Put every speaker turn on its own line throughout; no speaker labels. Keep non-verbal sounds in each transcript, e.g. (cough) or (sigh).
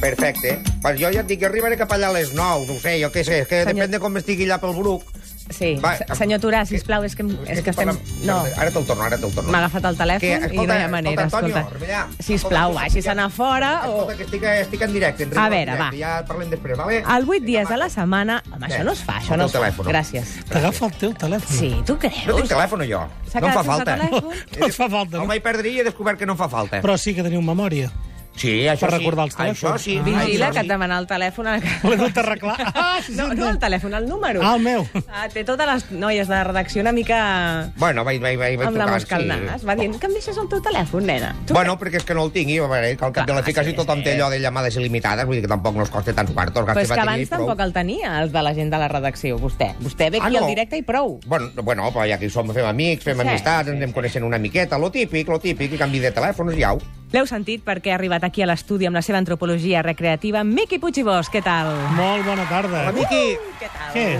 correcte. Però jo ja et dic, jo arribaré cap allà a les 9, no ho sé, jo què sé, és que
Senyor-
depèn de com estigui allà pel Bruc.
Sí,
Va,
se- senyor Turà, sisplau, és que, és que estem...
parla-
No,
Ara te'l torno, ara te'l torno.
m'ha agafat el telèfon
Que,
i no
escolta,
hi ha manera.
escolta, Antonio,
escolta.
Remillà,
sisplau,
escolta,
vagis a
ja-
anar fora o...
Escolta, que estic, estic en directe. En
A
rigor,
veure,
en directe,
va.
Ja parlem després, vale?
Els 8 dies
va.
de la setmana... Home, això no es fa,
Escolta
això no
el
es fa.
telèfon.
Gràcies.
T'agafa el teu telèfon.
Sí, tu
Mm. No tinc
creus?
telèfon, jo.
S'ha
No em fa
quedat sense
falta. eh? (laughs)
telèfon?
No et fa falta, no?
El vaig perdre i he descobert que no em fa falta.
Però sí que teniu memòria.
sí, això
per
sí.
recordar els
Això
telèfons.
sí.
Ah.
Vigila
això
que
sí.
et demanar el telèfon a
(laughs)
la
L'he
cara.
dut a arreglar. Ah, sí,
(laughs)
sí,
No, no el telèfon, el número.
Ah, el meu.
Ah, té totes les noies de la redacció una mica
Bueno, vaig, vaig, vaig, vaig
amb la
tocant,
mosca al nas.
sí.
Va dient, que em deixes el teu telèfon, nena. Tu
Bueno, perquè és que no el tingui, a veure, que al cap de la
Clar,
fi quasi
sí,
tothom
sí.
té allò de llamades il·limitades, vull dir que tampoc no es costa tants quartos.
Però
gasto
és que
bateria i
abans
prou.
tampoc el tenia, els de la gent de la redacció, vostè. Vostè ve
Ah,
aquí al
no?
directe i prou.
Bueno, no, bueno, però ja que hi som, fem amics, fem
Sí,
amistats,
sí,
ens anem
sí.
coneixent una miqueta, lo típic, lo típic, i canvi de telèfons, iau.
L'heu sentit perquè ha arribat aquí a l'estudi amb la seva antropologia recreativa, Miqui Puigibós, què tal?
Molt bona tarda.
Hola, Miqui!
Què tal?
Què?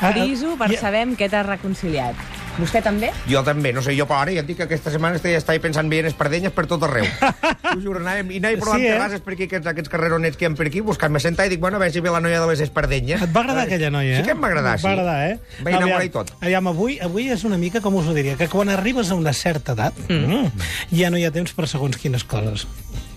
Ah,
Friso per
ja-
saber amb què t'has reconciliat. Vostè també?
Jo també, no sé, jo però ara ja et dic que aquesta setmana estic, estic pensant bé en espardenyes per tot
(laughs)
arreu. Us juro, anàvem, i anàvem provant
Sí,
sí,
eh?
terrasses per aquí, aquests, aquests carreronets que hi ha per aquí, buscant-me sentar i dic, bueno, a veure si ve la noia de les espardenyes.
Ah,
Et va agradar aquella noia, eh?
Sí que em va agradar,
Et
sí.
va agradar, eh?
Vaig enamorar i tot.
Aviam, avui, avui és una mica, com us ho diria, que quan arribes a una certa edat, mm. ja no hi ha temps per segons quines coses.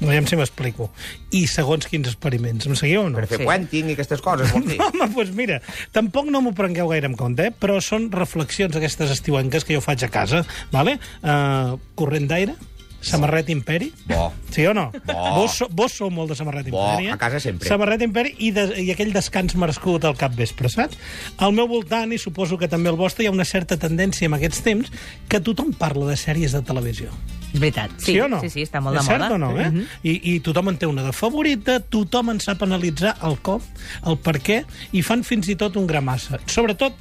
Aviam si m'explico. I segons quins experiments. Em seguiu o no?
Per fer
Sí.
sí. quanting i aquestes coses, vols
(laughs)
dir?
(laughs) Home, doncs mira, tampoc no m'ho prengueu gaire en compte, eh? però són reflexions aquestes estiuenques que jo faig a casa, vale? Uh, corrent d'aire, samarret imperi,
Bo.
Sí o no?
Bo.
Vos, so- vos sou molt de samarret
Bo,
imperi. eh?
a casa sempre.
Samarret imperi i, de, i aquell descans merescut al cap vespre, saps? Al meu voltant, i suposo que també al vostre, hi ha una certa tendència en aquests temps que tothom parla de sèries de televisió.
És veritat.
Sí, o no?
Sí, sí, està molt de
és
moda.
cert o no, eh?
Mhm.
I, I tothom en té una de favorita, tothom en sap analitzar el com, el per què, i fan fins i tot un gra massa. Sobretot,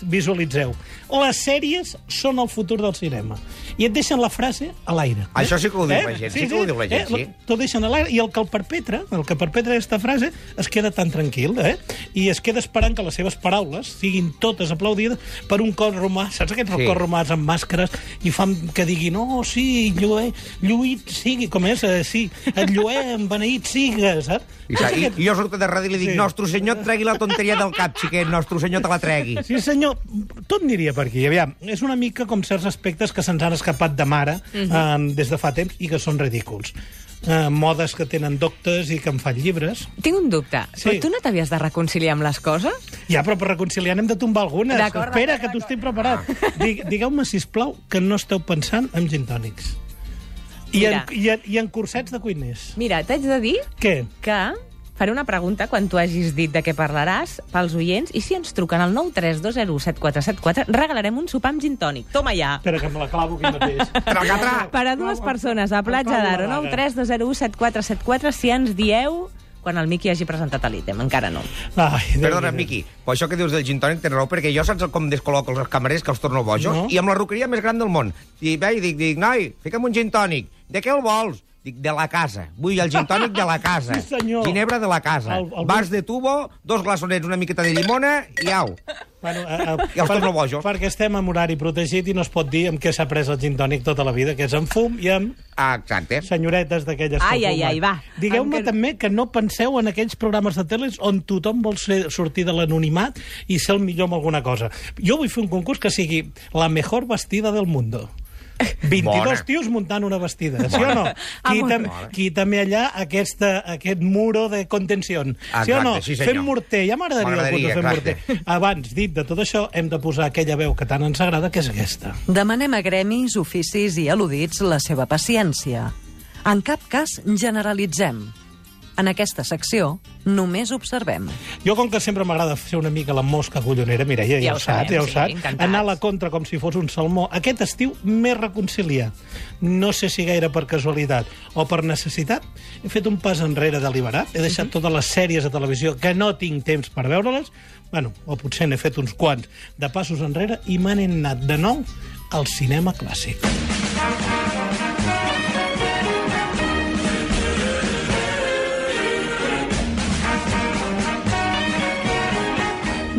visualitzeu, les sèries són el futur del cinema. I et deixen la frase a l'aire. Eh?
Això sí que ho diu la gent, sí que ho diu la gent, sí.
T'ho deixen a l'aire, i el que el perpetra, el que perpetra aquesta frase, es queda tan tranquil, eh? I es queda esperant que les seves paraules siguin totes aplaudides per un cor romà, saps aquests
Sí.
sí. cor romans amb màscares, i fan que digui, no, sí, lluït, lluït sigui, com és, Eh, sí, et lluem, beneït sigues, saps?
I,
Saps
sa- i,
(laughs) aquest-
i jo surto de darrere i li dic,
Sí.
sí. nostre senyor, et tregui la tonteria del cap, xiquet, nostre senyor, te la tregui.
Sí, senyor, tot aniria per aquí. Aviam, és una mica com certs aspectes que se'ns han escapat de mare mm -hmm. eh, des de fa temps i que són ridículs. Eh, modes que tenen doctes i que en fan llibres.
Tinc un dubte.
Sí.
Però tu no t'havies de reconciliar amb les coses?
Ja, però per reconciliar n'hem de tombar algunes.
D'acord,
Espera,
d'acord,
que t'ho estic preparat. Digue- Digueu-me, si plau que no esteu pensant en gintònics. I en,
Mira.
i, en, I en cursets de cuiners.
Mira, t'haig de dir
Què?
que faré una pregunta quan tu hagis dit de què parlaràs pels oients i si ens truquen al 932017474 regalarem un sopar amb gin tònic. Toma ja!
Espera, que me la clavo aquí mateix.
Tracatra!
(laughs)
Per a dues persones a Platja d'Aro, 932017474 si ens dieu quan el Miqui hagi presentat l'ítem. Encara no.
Ai, Déu
Perdona,
meu.
Miqui, però això que dius del gin tònic tens raó, perquè jo saps com descol·loco els camarers que els torno bojos?
No.
No. I amb la roqueria més gran del món. I ve i dic, dic, noi, fica'm un gin tònic. De què el vols? Dic, de la casa. Vull el gin tònic de la
(laughs)
casa.
Sí, senyor.
Ginebra de la casa.
El-
El,
el-
el... Vas de tubo, dos glaçonets, una miqueta de llimona i au.
Bueno, a, a,
I els torno bojos.
Perquè estem en horari protegit i no es pot dir amb què s'ha pres el gintònic tota la vida, que és amb fum i amb
Ah, exacte.
senyoretes d'aquelles. que
Ai,
ho
ai, ai,
fumen.
va. Em
Digueu-me
quedo-
també que no penseu en aquells programes de teles on tothom vol ser, sortir de l'anonimat i ser el millor en alguna cosa. Jo vull fer un concurs que sigui la mejor vestida del mundo. 22
Bona.
tios muntant una vestida, sí o no? Qui,
Amor.
tam qui també allà aquesta, aquest muro de contenció. sí o
Exacte,
no?
sí, senyor.
fent morter, ja m'agradaria el
M'agradaria,
puto fent morter.
exacte.
Abans, dit de tot això, hem de posar aquella veu que tant ens agrada, que és aquesta.
Demanem a gremis, oficis i al·ludits la seva paciència. En cap cas generalitzem. En aquesta secció només observem.
Jo, com que sempre m'agrada ser una mica la mosca collonera, mira, ja, ja, ho saps,
sabem,
ja ho
sí,
saps,
encantats.
anar a la contra com si fos un salmó, aquest estiu m'he reconciliat. No sé si gaire per casualitat o per necessitat, he fet un pas enrere deliberat, he
Mhm.
deixat totes les sèries de televisió que no tinc temps per veure-les, bueno, o potser n'he fet uns quants de passos enrere i m'han anat de nou al cinema clàssic.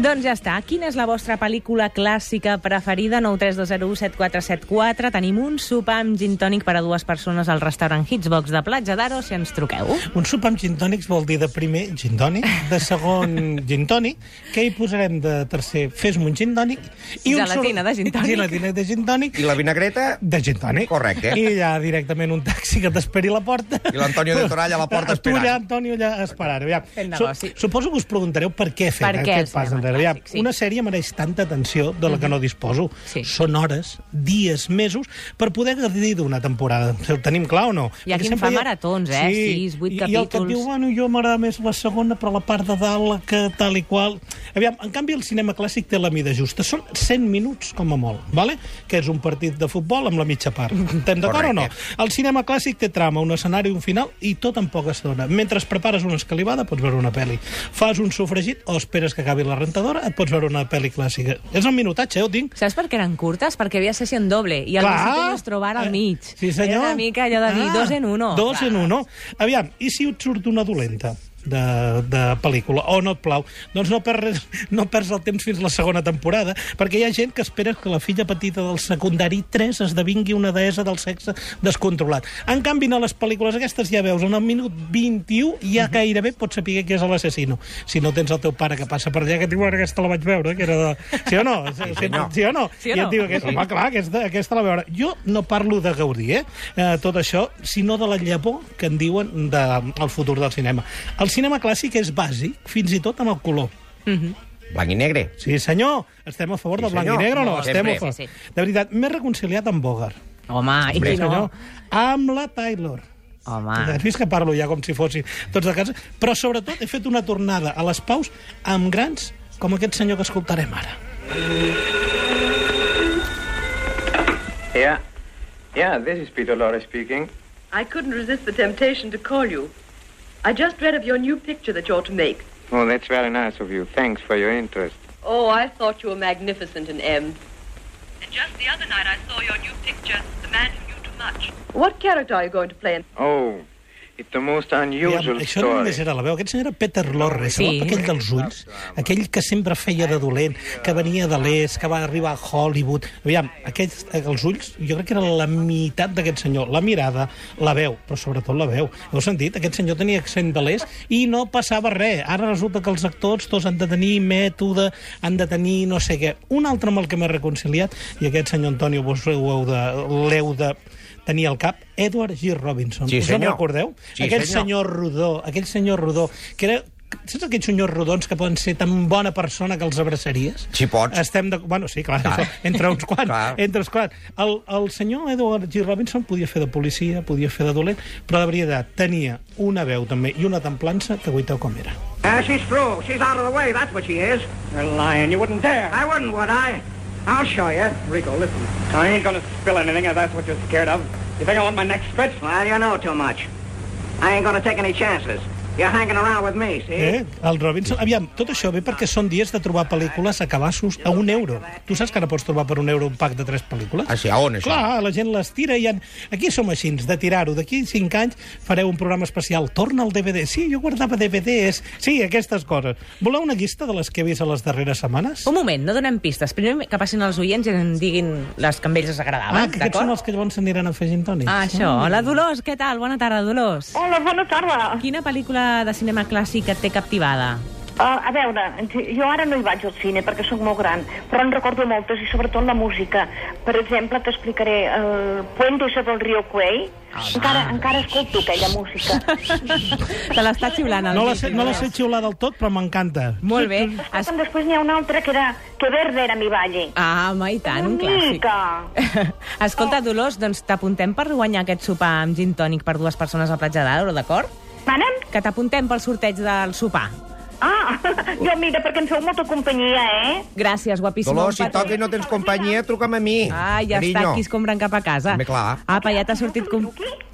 Doncs ja està. Quina és la vostra pel·lícula clàssica preferida? 932017474. Tenim un sopar amb gin tònic per a dues persones al restaurant Hitsbox de Platja d'Aro, si ens truqueu.
Un sopar amb gintònics vol dir de primer gintònic, de
(laughs)
segon gintònic, que hi posarem de tercer fes-me un gintònic...
Gelatina de gin tònic.
Gelatina de gintònic
I la vinagreta...
de gintònic.
Correcte.
I ja directament un taxi que t'esperi a la porta.
I l'Antonio de Toralla a la porta
Tu allà,
esperant.
Antonio, allà esperant. Aviam.
Fent negoci.
suposo que us preguntareu per què fer
Per què el
aquest pas
cinema
enrere. Aviam,
clàssic, sí.
Una sèrie mereix tanta atenció de la que no disposo.
Mhm. Sí.
Són hores, dies, mesos, per poder gaudir d'una temporada. Ho tenim clar o no?
Hi ha
Perquè
qui en
sempre
fa
hi ha-
maratons, eh? Sis, vuit
i, I el que et
capítols.
diu, bueno, jo m'agrada més la segona, però la part de dalt, la que tal i qual... Aviam, en canvi, el cinema clàssic té la mida justa. Són 100 minuts, com a molt, vale? que és un partit de futbol amb la mitja part. Estem d'acord o no? El cinema clàssic té trama, un escenari, un final, i tot en poca estona. Mentre prepares una escalivada, pots veure una pel·li. Fas un sofregit o esperes que acabi la rentadora, et pots veure una pel·li clàssica. És el minutatge, eh, ho tinc.
Saps per què eren curtes? Perquè havia sessió en doble i el
Clar. Eh,
Visito Nuestro Bar al mig.
Sí, senyor.
Era una mica allò de dir
Ah,
dos en uno.
Dos
Clar.
en uno. Aviam, i si et surt una dolenta? de, de pel·lícula, o no et plau, doncs no perds, no perds el temps fins la segona temporada, perquè hi ha gent que espera que la filla petita del secundari 3 esdevingui una deessa del sexe descontrolat. En canvi, no les pel·lícules aquestes ja veus, en el minut 21 ja
Mhm.
gairebé pots saber qui és l'assassino. Si no tens el teu pare que passa per allà, que et diu, "Ara aquesta la vaig veure, que era de... Sí o no? (laughs) Sí,
senyor.
sí o no?
Sí o
I
no?
et diu, aquest, home, clar, aquesta, aquesta la veure. Jo no parlo de Gaudí, eh? eh? tot això, sinó de la llavor que en diuen del el futur del cinema. El cinema clàssic és bàsic, fins i tot en el color.
Blanc i negre.
Sí, senyor, estem a favor
Sí,
del blanc
senyor.
i negre o no?
Molt,
estem
sempre.
a favor.
Sí, sí.
De veritat, m'he reconciliat amb Bogart.
Home, i qui no?
senyor, Amb la Taylor.
Home.
Has vist que parlo ja com si fossin tots de casa? Però sobretot he fet una tornada a les paus amb grans com aquest senyor que escoltarem ara.
Yeah. Yeah, this is Peter Lorre speaking.
I couldn't resist the temptation to call you. I just read of your new picture that you're to make.
Oh, that's very nice of you. Thanks for your interest.
Oh, I thought you were magnificent in M. And just the other night I saw your new picture, The Man Who Knew Too Much. What character are you going to play in?
Oh, it's the most unusual
Aviam, Això no
story.
només era la veu, aquest senyor era Peter Lorre,
Sí.
sí. aquell dels ulls, aquell que sempre feia de dolent, que venia de l'est, que va arribar a Hollywood. Aviam, aquests, els ulls, jo crec que era la meitat d'aquest senyor, la mirada, la veu, però sobretot la veu. Heu sentit? Aquest senyor tenia accent de l'est i no passava res. Ara resulta que els actors tots han de tenir mètode, han de tenir no sé què. Un altre amb el que m'he reconciliat, i aquest senyor Antonio, vos ho heu de... L'heu de tenir al cap, Edward G. Robinson.
Sí,
Us en
senyor.
recordeu?
Sí,
aquell
senyor.
senyor rodó, aquell senyor rodó, que era Saps aquells senyors rodons que poden ser tan bona persona que els abraçaries?
Si pots.
Estem de... Bueno, sí, clar,
Clar.
clar. (laughs) entre uns quants.
Clar.
Entre uns quants. El, el senyor Edward G. Robinson podia fer de policia, podia fer de dolent, però de veritat tenia una veu també i una templança que guaiteu com era.
Uh, she's through. She's out of the way. That's what she is.
You're lying. You wouldn't dare.
I wouldn't, would I? I'll show you. Rico, listen.
I ain't gonna spill anything if that's what you're scared of. You think I want my neck stretched?
Well, you know too much. I ain't gonna take any chances. You're hanging around with me, see?
Eh? El Robinson... Aviam, tot això ve perquè són dies de trobar pel·lícules a cabassos a un euro. Tu saps que ara pots trobar per un euro un pack de tres pel·lícules?
Ah, sí, a on, això?
Clar, la gent les tira i... En... Aquí som així, de tirar-ho. D'aquí cinc anys fareu un programa especial. Torna al DVD. Sí, jo guardava DVDs. Sí, aquestes coses. Voleu una llista de les que he vist a les darreres setmanes?
Un moment, no donem pistes. Primer que passin els oients i en diguin les que a ells els agradaven,
Ah, que aquests són
d'acord?
els que llavors s'aniran afegint tònics.
Ah, això. Hola, Dolors, què tal? Bona tarda, Dolors.
Hola, bona tarda.
Quina pel·lícula de cinema clàssic et té
(laughs)
captivada?
Uh, a veure, jo ara no hi vaig al cine perquè sóc molt gran, però en recordo moltes i sobretot la música. Per exemple, t'explicaré el Puente sobre el río Cuey. Encara, encara escolto aquella música.
Te l'està xiulant el
No la,
vídeo,
sé, no la
Dolors.
sé xiular del tot, però m'encanta.
Molt bé. Es...
Escolta'm, després n'hi ha una altra que era Que verde era mi valle.
Ah, home, i tant, un clàssic.
Bonica.
(laughs)
Oh.
Escolta, Dolors, doncs t'apuntem per guanyar aquest sopar amb gin tònic per dues persones a Platja d'Aro, d'acord?
Manem?
Que t'apuntem pel sorteig del sopar.
Ah, (laughs) jo mira, perquè em feu molta companyia, eh?
Gràcies, guapíssima.
Dolors, si
Un petó.
toca i no tens companyia, truca'm a mi.
Ah, ja
carinyo.
està, aquí es compren cap a casa.
Home, clar.
Apa, ja t'ha sortit... Com...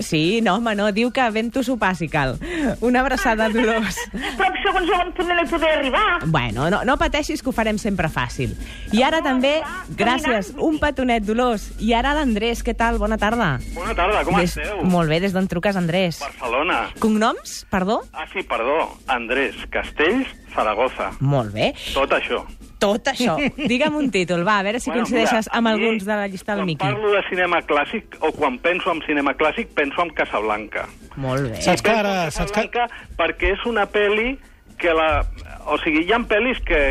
Sí, no, home, no, diu que vem tu sopar, si cal. Una
Ah.
abraçada, Dolors.
Però segons on podré, no hi podré arribar.
Bueno, no, no pateixis que ho farem sempre fàcil. I ara també, gràcies, un petonet, Dolors. I ara l'Andrés, què tal? Bona tarda.
Bona tarda, com
Des...
esteu?
Molt bé, des d'on truques, Andrés?
Barcelona.
Cognoms, perdó?
Ah, sí, perdó. Andrés, Castells, Zaragoza.
Molt bé.
Tot això.
tot això. Digue'm un títol, va, a veure si coincideixes
mira,
amb
a mi,
alguns de la llista del
quan
Miqui.
parlo de cinema clàssic, o quan penso en cinema clàssic, penso en Casablanca.
Molt bé.
Saps que ara...
eh,
Saps que...
Casablanca perquè és una pel·li que la... O sigui, hi ha pel·lis que,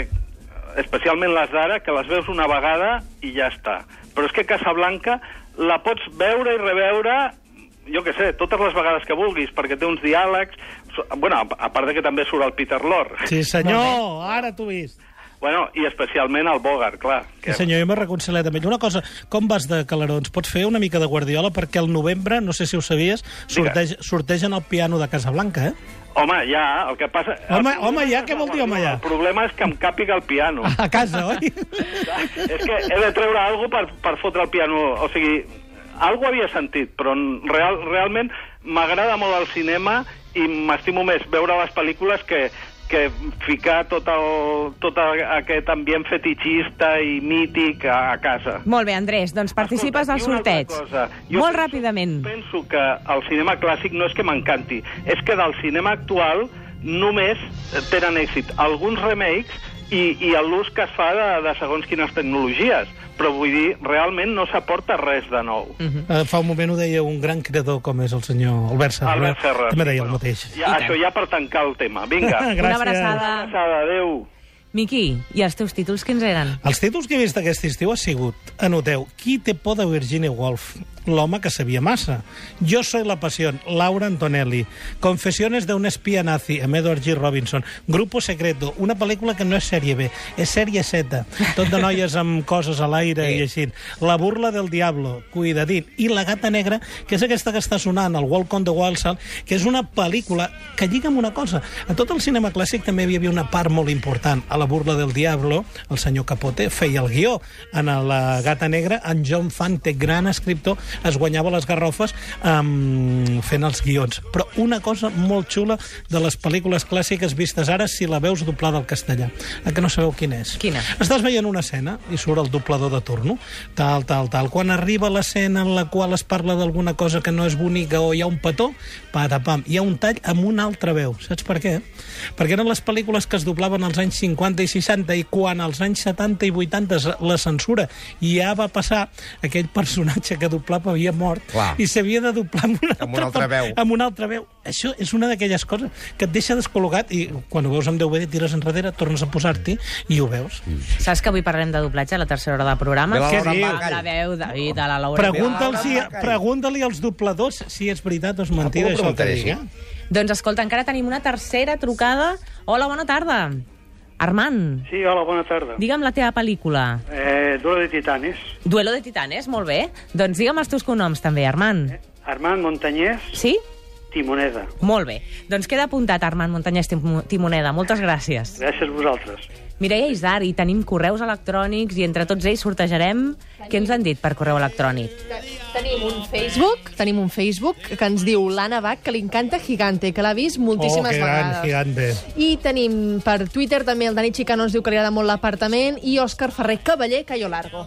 especialment les d'ara, que les veus una vegada i ja està. Però és que Casablanca la pots veure i reveure jo que sé, totes les vegades que vulguis, perquè té uns diàlegs... So- Bueno, a- a part de que també surt el Peter Lorre.
eh,
Sí, senyor, ara t'ho vist.
Bueno, i especialment el Bogart, clar.
Sí, senyor, jo m'he reconciliat amb ell. Una cosa, com vas de calarons? Pots fer una mica de guardiola? Perquè el novembre, no sé si ho sabies, sorteix, sortegen el piano de Casablanca, eh?
Home, ja, el que passa...
Home,
el-
home, ja, què vol dir, home, ja?
El problema és que em càpiga el piano.
Oh.
A casa,
(laughs)
oi?
(laughs) és que he de treure alguna per, per fotre el piano. O sigui, algo havia sentit, però en real, realment m'agrada molt el cinema i m'estimo més veure les pel·lícules que, que ficar tot, el, tot el, aquest ambient fetichista i mític a, a casa.
Molt bé, Andrés, doncs participes
Escolta,
al
i una altra
sorteig.
cosa. Jo
Molt
penso-
ràpidament.
Penso que el cinema clàssic no és que m'encanti, és que del cinema actual només tenen èxit alguns remakes i, i l'ús que es fa de, de segons quines tecnologies. Però vull dir, realment no s'aporta res de nou.
Mm.
Eh, Fa un moment ho deia un gran creador com és el senyor Albert Serra.
Albert Serra.
També deia el mateix.
Ja, això ja per tancar el tema. Vinga.
(laughs)
(laughs)
Gràcies.
Una abraçada.
abraçada. Adéu.
Miqui, i els teus títols quins eren?
Els títols que he vist aquest estiu ha sigut, anoteu, Qui té por de Virginia Woolf? L'home que sabia massa. Jo soy la pasión, Laura Antonelli. Confesiones de un espía nazi, amb Edward G. Robinson. Grupo Secreto, una pel·lícula que no és sèrie B, és sèrie Z. Tot de noies amb coses a l'aire i així. La burla del diablo, cuidadín. I La gata negra, que és aquesta que està sonant, el Walk on the Wild Side, que és una pel·lícula que lliga amb una cosa. A tot el cinema clàssic també hi havia una part molt important. A La burla del diablo, el senyor Capote feia el guió. En La gata negra, en John Fante, gran escriptor, es guanyava les garrofes um, fent els guions. Però una cosa molt xula de les pel·lícules clàssiques vistes ara, si la veus doblada al castellà, a que no sabeu quina és.
Quina?
Estàs veient una escena i surt el doblador de turno, tal, tal, tal. Quan arriba l'escena en la qual es parla d'alguna cosa que no és bonica o hi ha un petó, patapam, hi ha un tall amb una altra veu. Saps per què? Perquè eren les pel·lícules que es doblaven als anys 50 i 60 i quan als anys 70 i 80 es- la censura ja va passar, aquell personatge que doblava havia mort
Clar.
i s'havia de doblar amb una,
Amb una altra veu.
amb una altra veu. Això és una d'aquelles coses que et deixa descol·locat i quan ho veus amb DVD tires enrere, tornes a posar-t'hi i ho veus.
Saps que avui parlem de doblatge a la tercera hora del programa?
De la
Què
Laura
diu?
Marcall.
Amb La veu de, i de la Laura.
Pregunta'ls si,
Marcall.
pregunta-li als dobladors si és veritat o és mentida
Ah, ho
això que
preguntaré,
dic,
sí.
eh?
Doncs escolta, encara tenim una tercera trucada. Hola, bona tarda. Armand,
Sí, hola, bona tarda.
digue'm la teva pel·lícula.
Eh, Duelo de Titanes.
Duelo de titanes, molt bé. Doncs digue'm els teus cognoms també, Armand.
Armand Montañés,
Sí?
Timoneda.
Molt bé. Doncs queda apuntat, Armand Montanyès Tim- Timoneda. Moltes gràcies.
Gràcies a vosaltres.
Mireia Isar, i tenim correus electrònics i entre tots ells sortejarem... Què ens han dit per correu electrònic?
Tenim un Facebook, tenim un Facebook que ens diu l'Anna Bach, que li encanta Gigante, que l'ha vist
Oh,
moltíssimes
que gran,
vegades.
gigante.
I tenim per Twitter també el Dani Chicano, ens diu que li agrada molt l'apartament, i Òscar Ferrer Cavaller, que jo largo.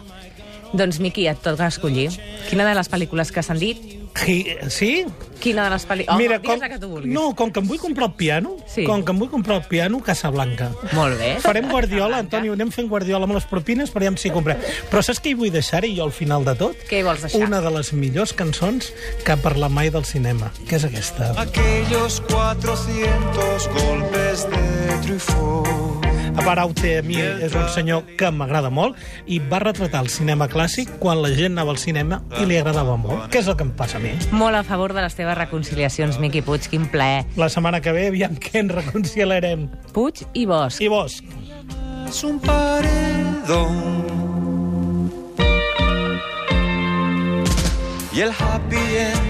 Doncs, Miqui, et toca escollir. Quina de les pel·lícules que s'han dit?
Gi- Sí?
Quina de les pel·lícules... Home, Mira, digues la que tu vulguis.
no, com que em vull comprar el piano,
Sí. Eh,
com que em vull comprar el piano, Casablanca.
Molt bé.
Farem Guardiola, Antonio, anem fent Guardiola amb les propines, però ja em s'hi comprem. Però saps què hi vull deixar-hi jo al final de tot?
Què hi vols deixar?
Una de les millors cançons que parla mai del cinema, que és aquesta.
Aquellos 400 golpes de truffaut.
Baraute a mi és un senyor que m'agrada molt i va retratar el cinema clàssic quan la gent anava al cinema i li agradava molt. Què és el que em passa a mi?
Molt a favor de les teves reconciliacions, Miqui Puig. Quin plaer.
La setmana que ve aviam què ens reconciliarem.
Puig i Bosch.
I Bosch.
Es un paredón. Y el happy end.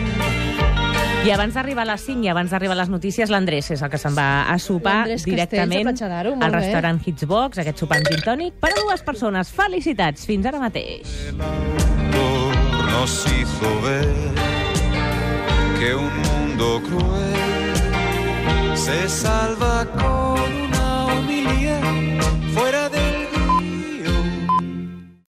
I abans d'arribar a les 5 i abans d'arribar a les notícies, l'Andrés és el que se'n va a sopar
L'Andrés Castells,
directament
a Platja d'Aro, molt
al
bé.
restaurant Hitsbox, aquest sopar amb gin tònic, per a dues persones. Felicitats. Fins ara mateix.
Salvador nos hizo ver que un mundo cruel se salva con una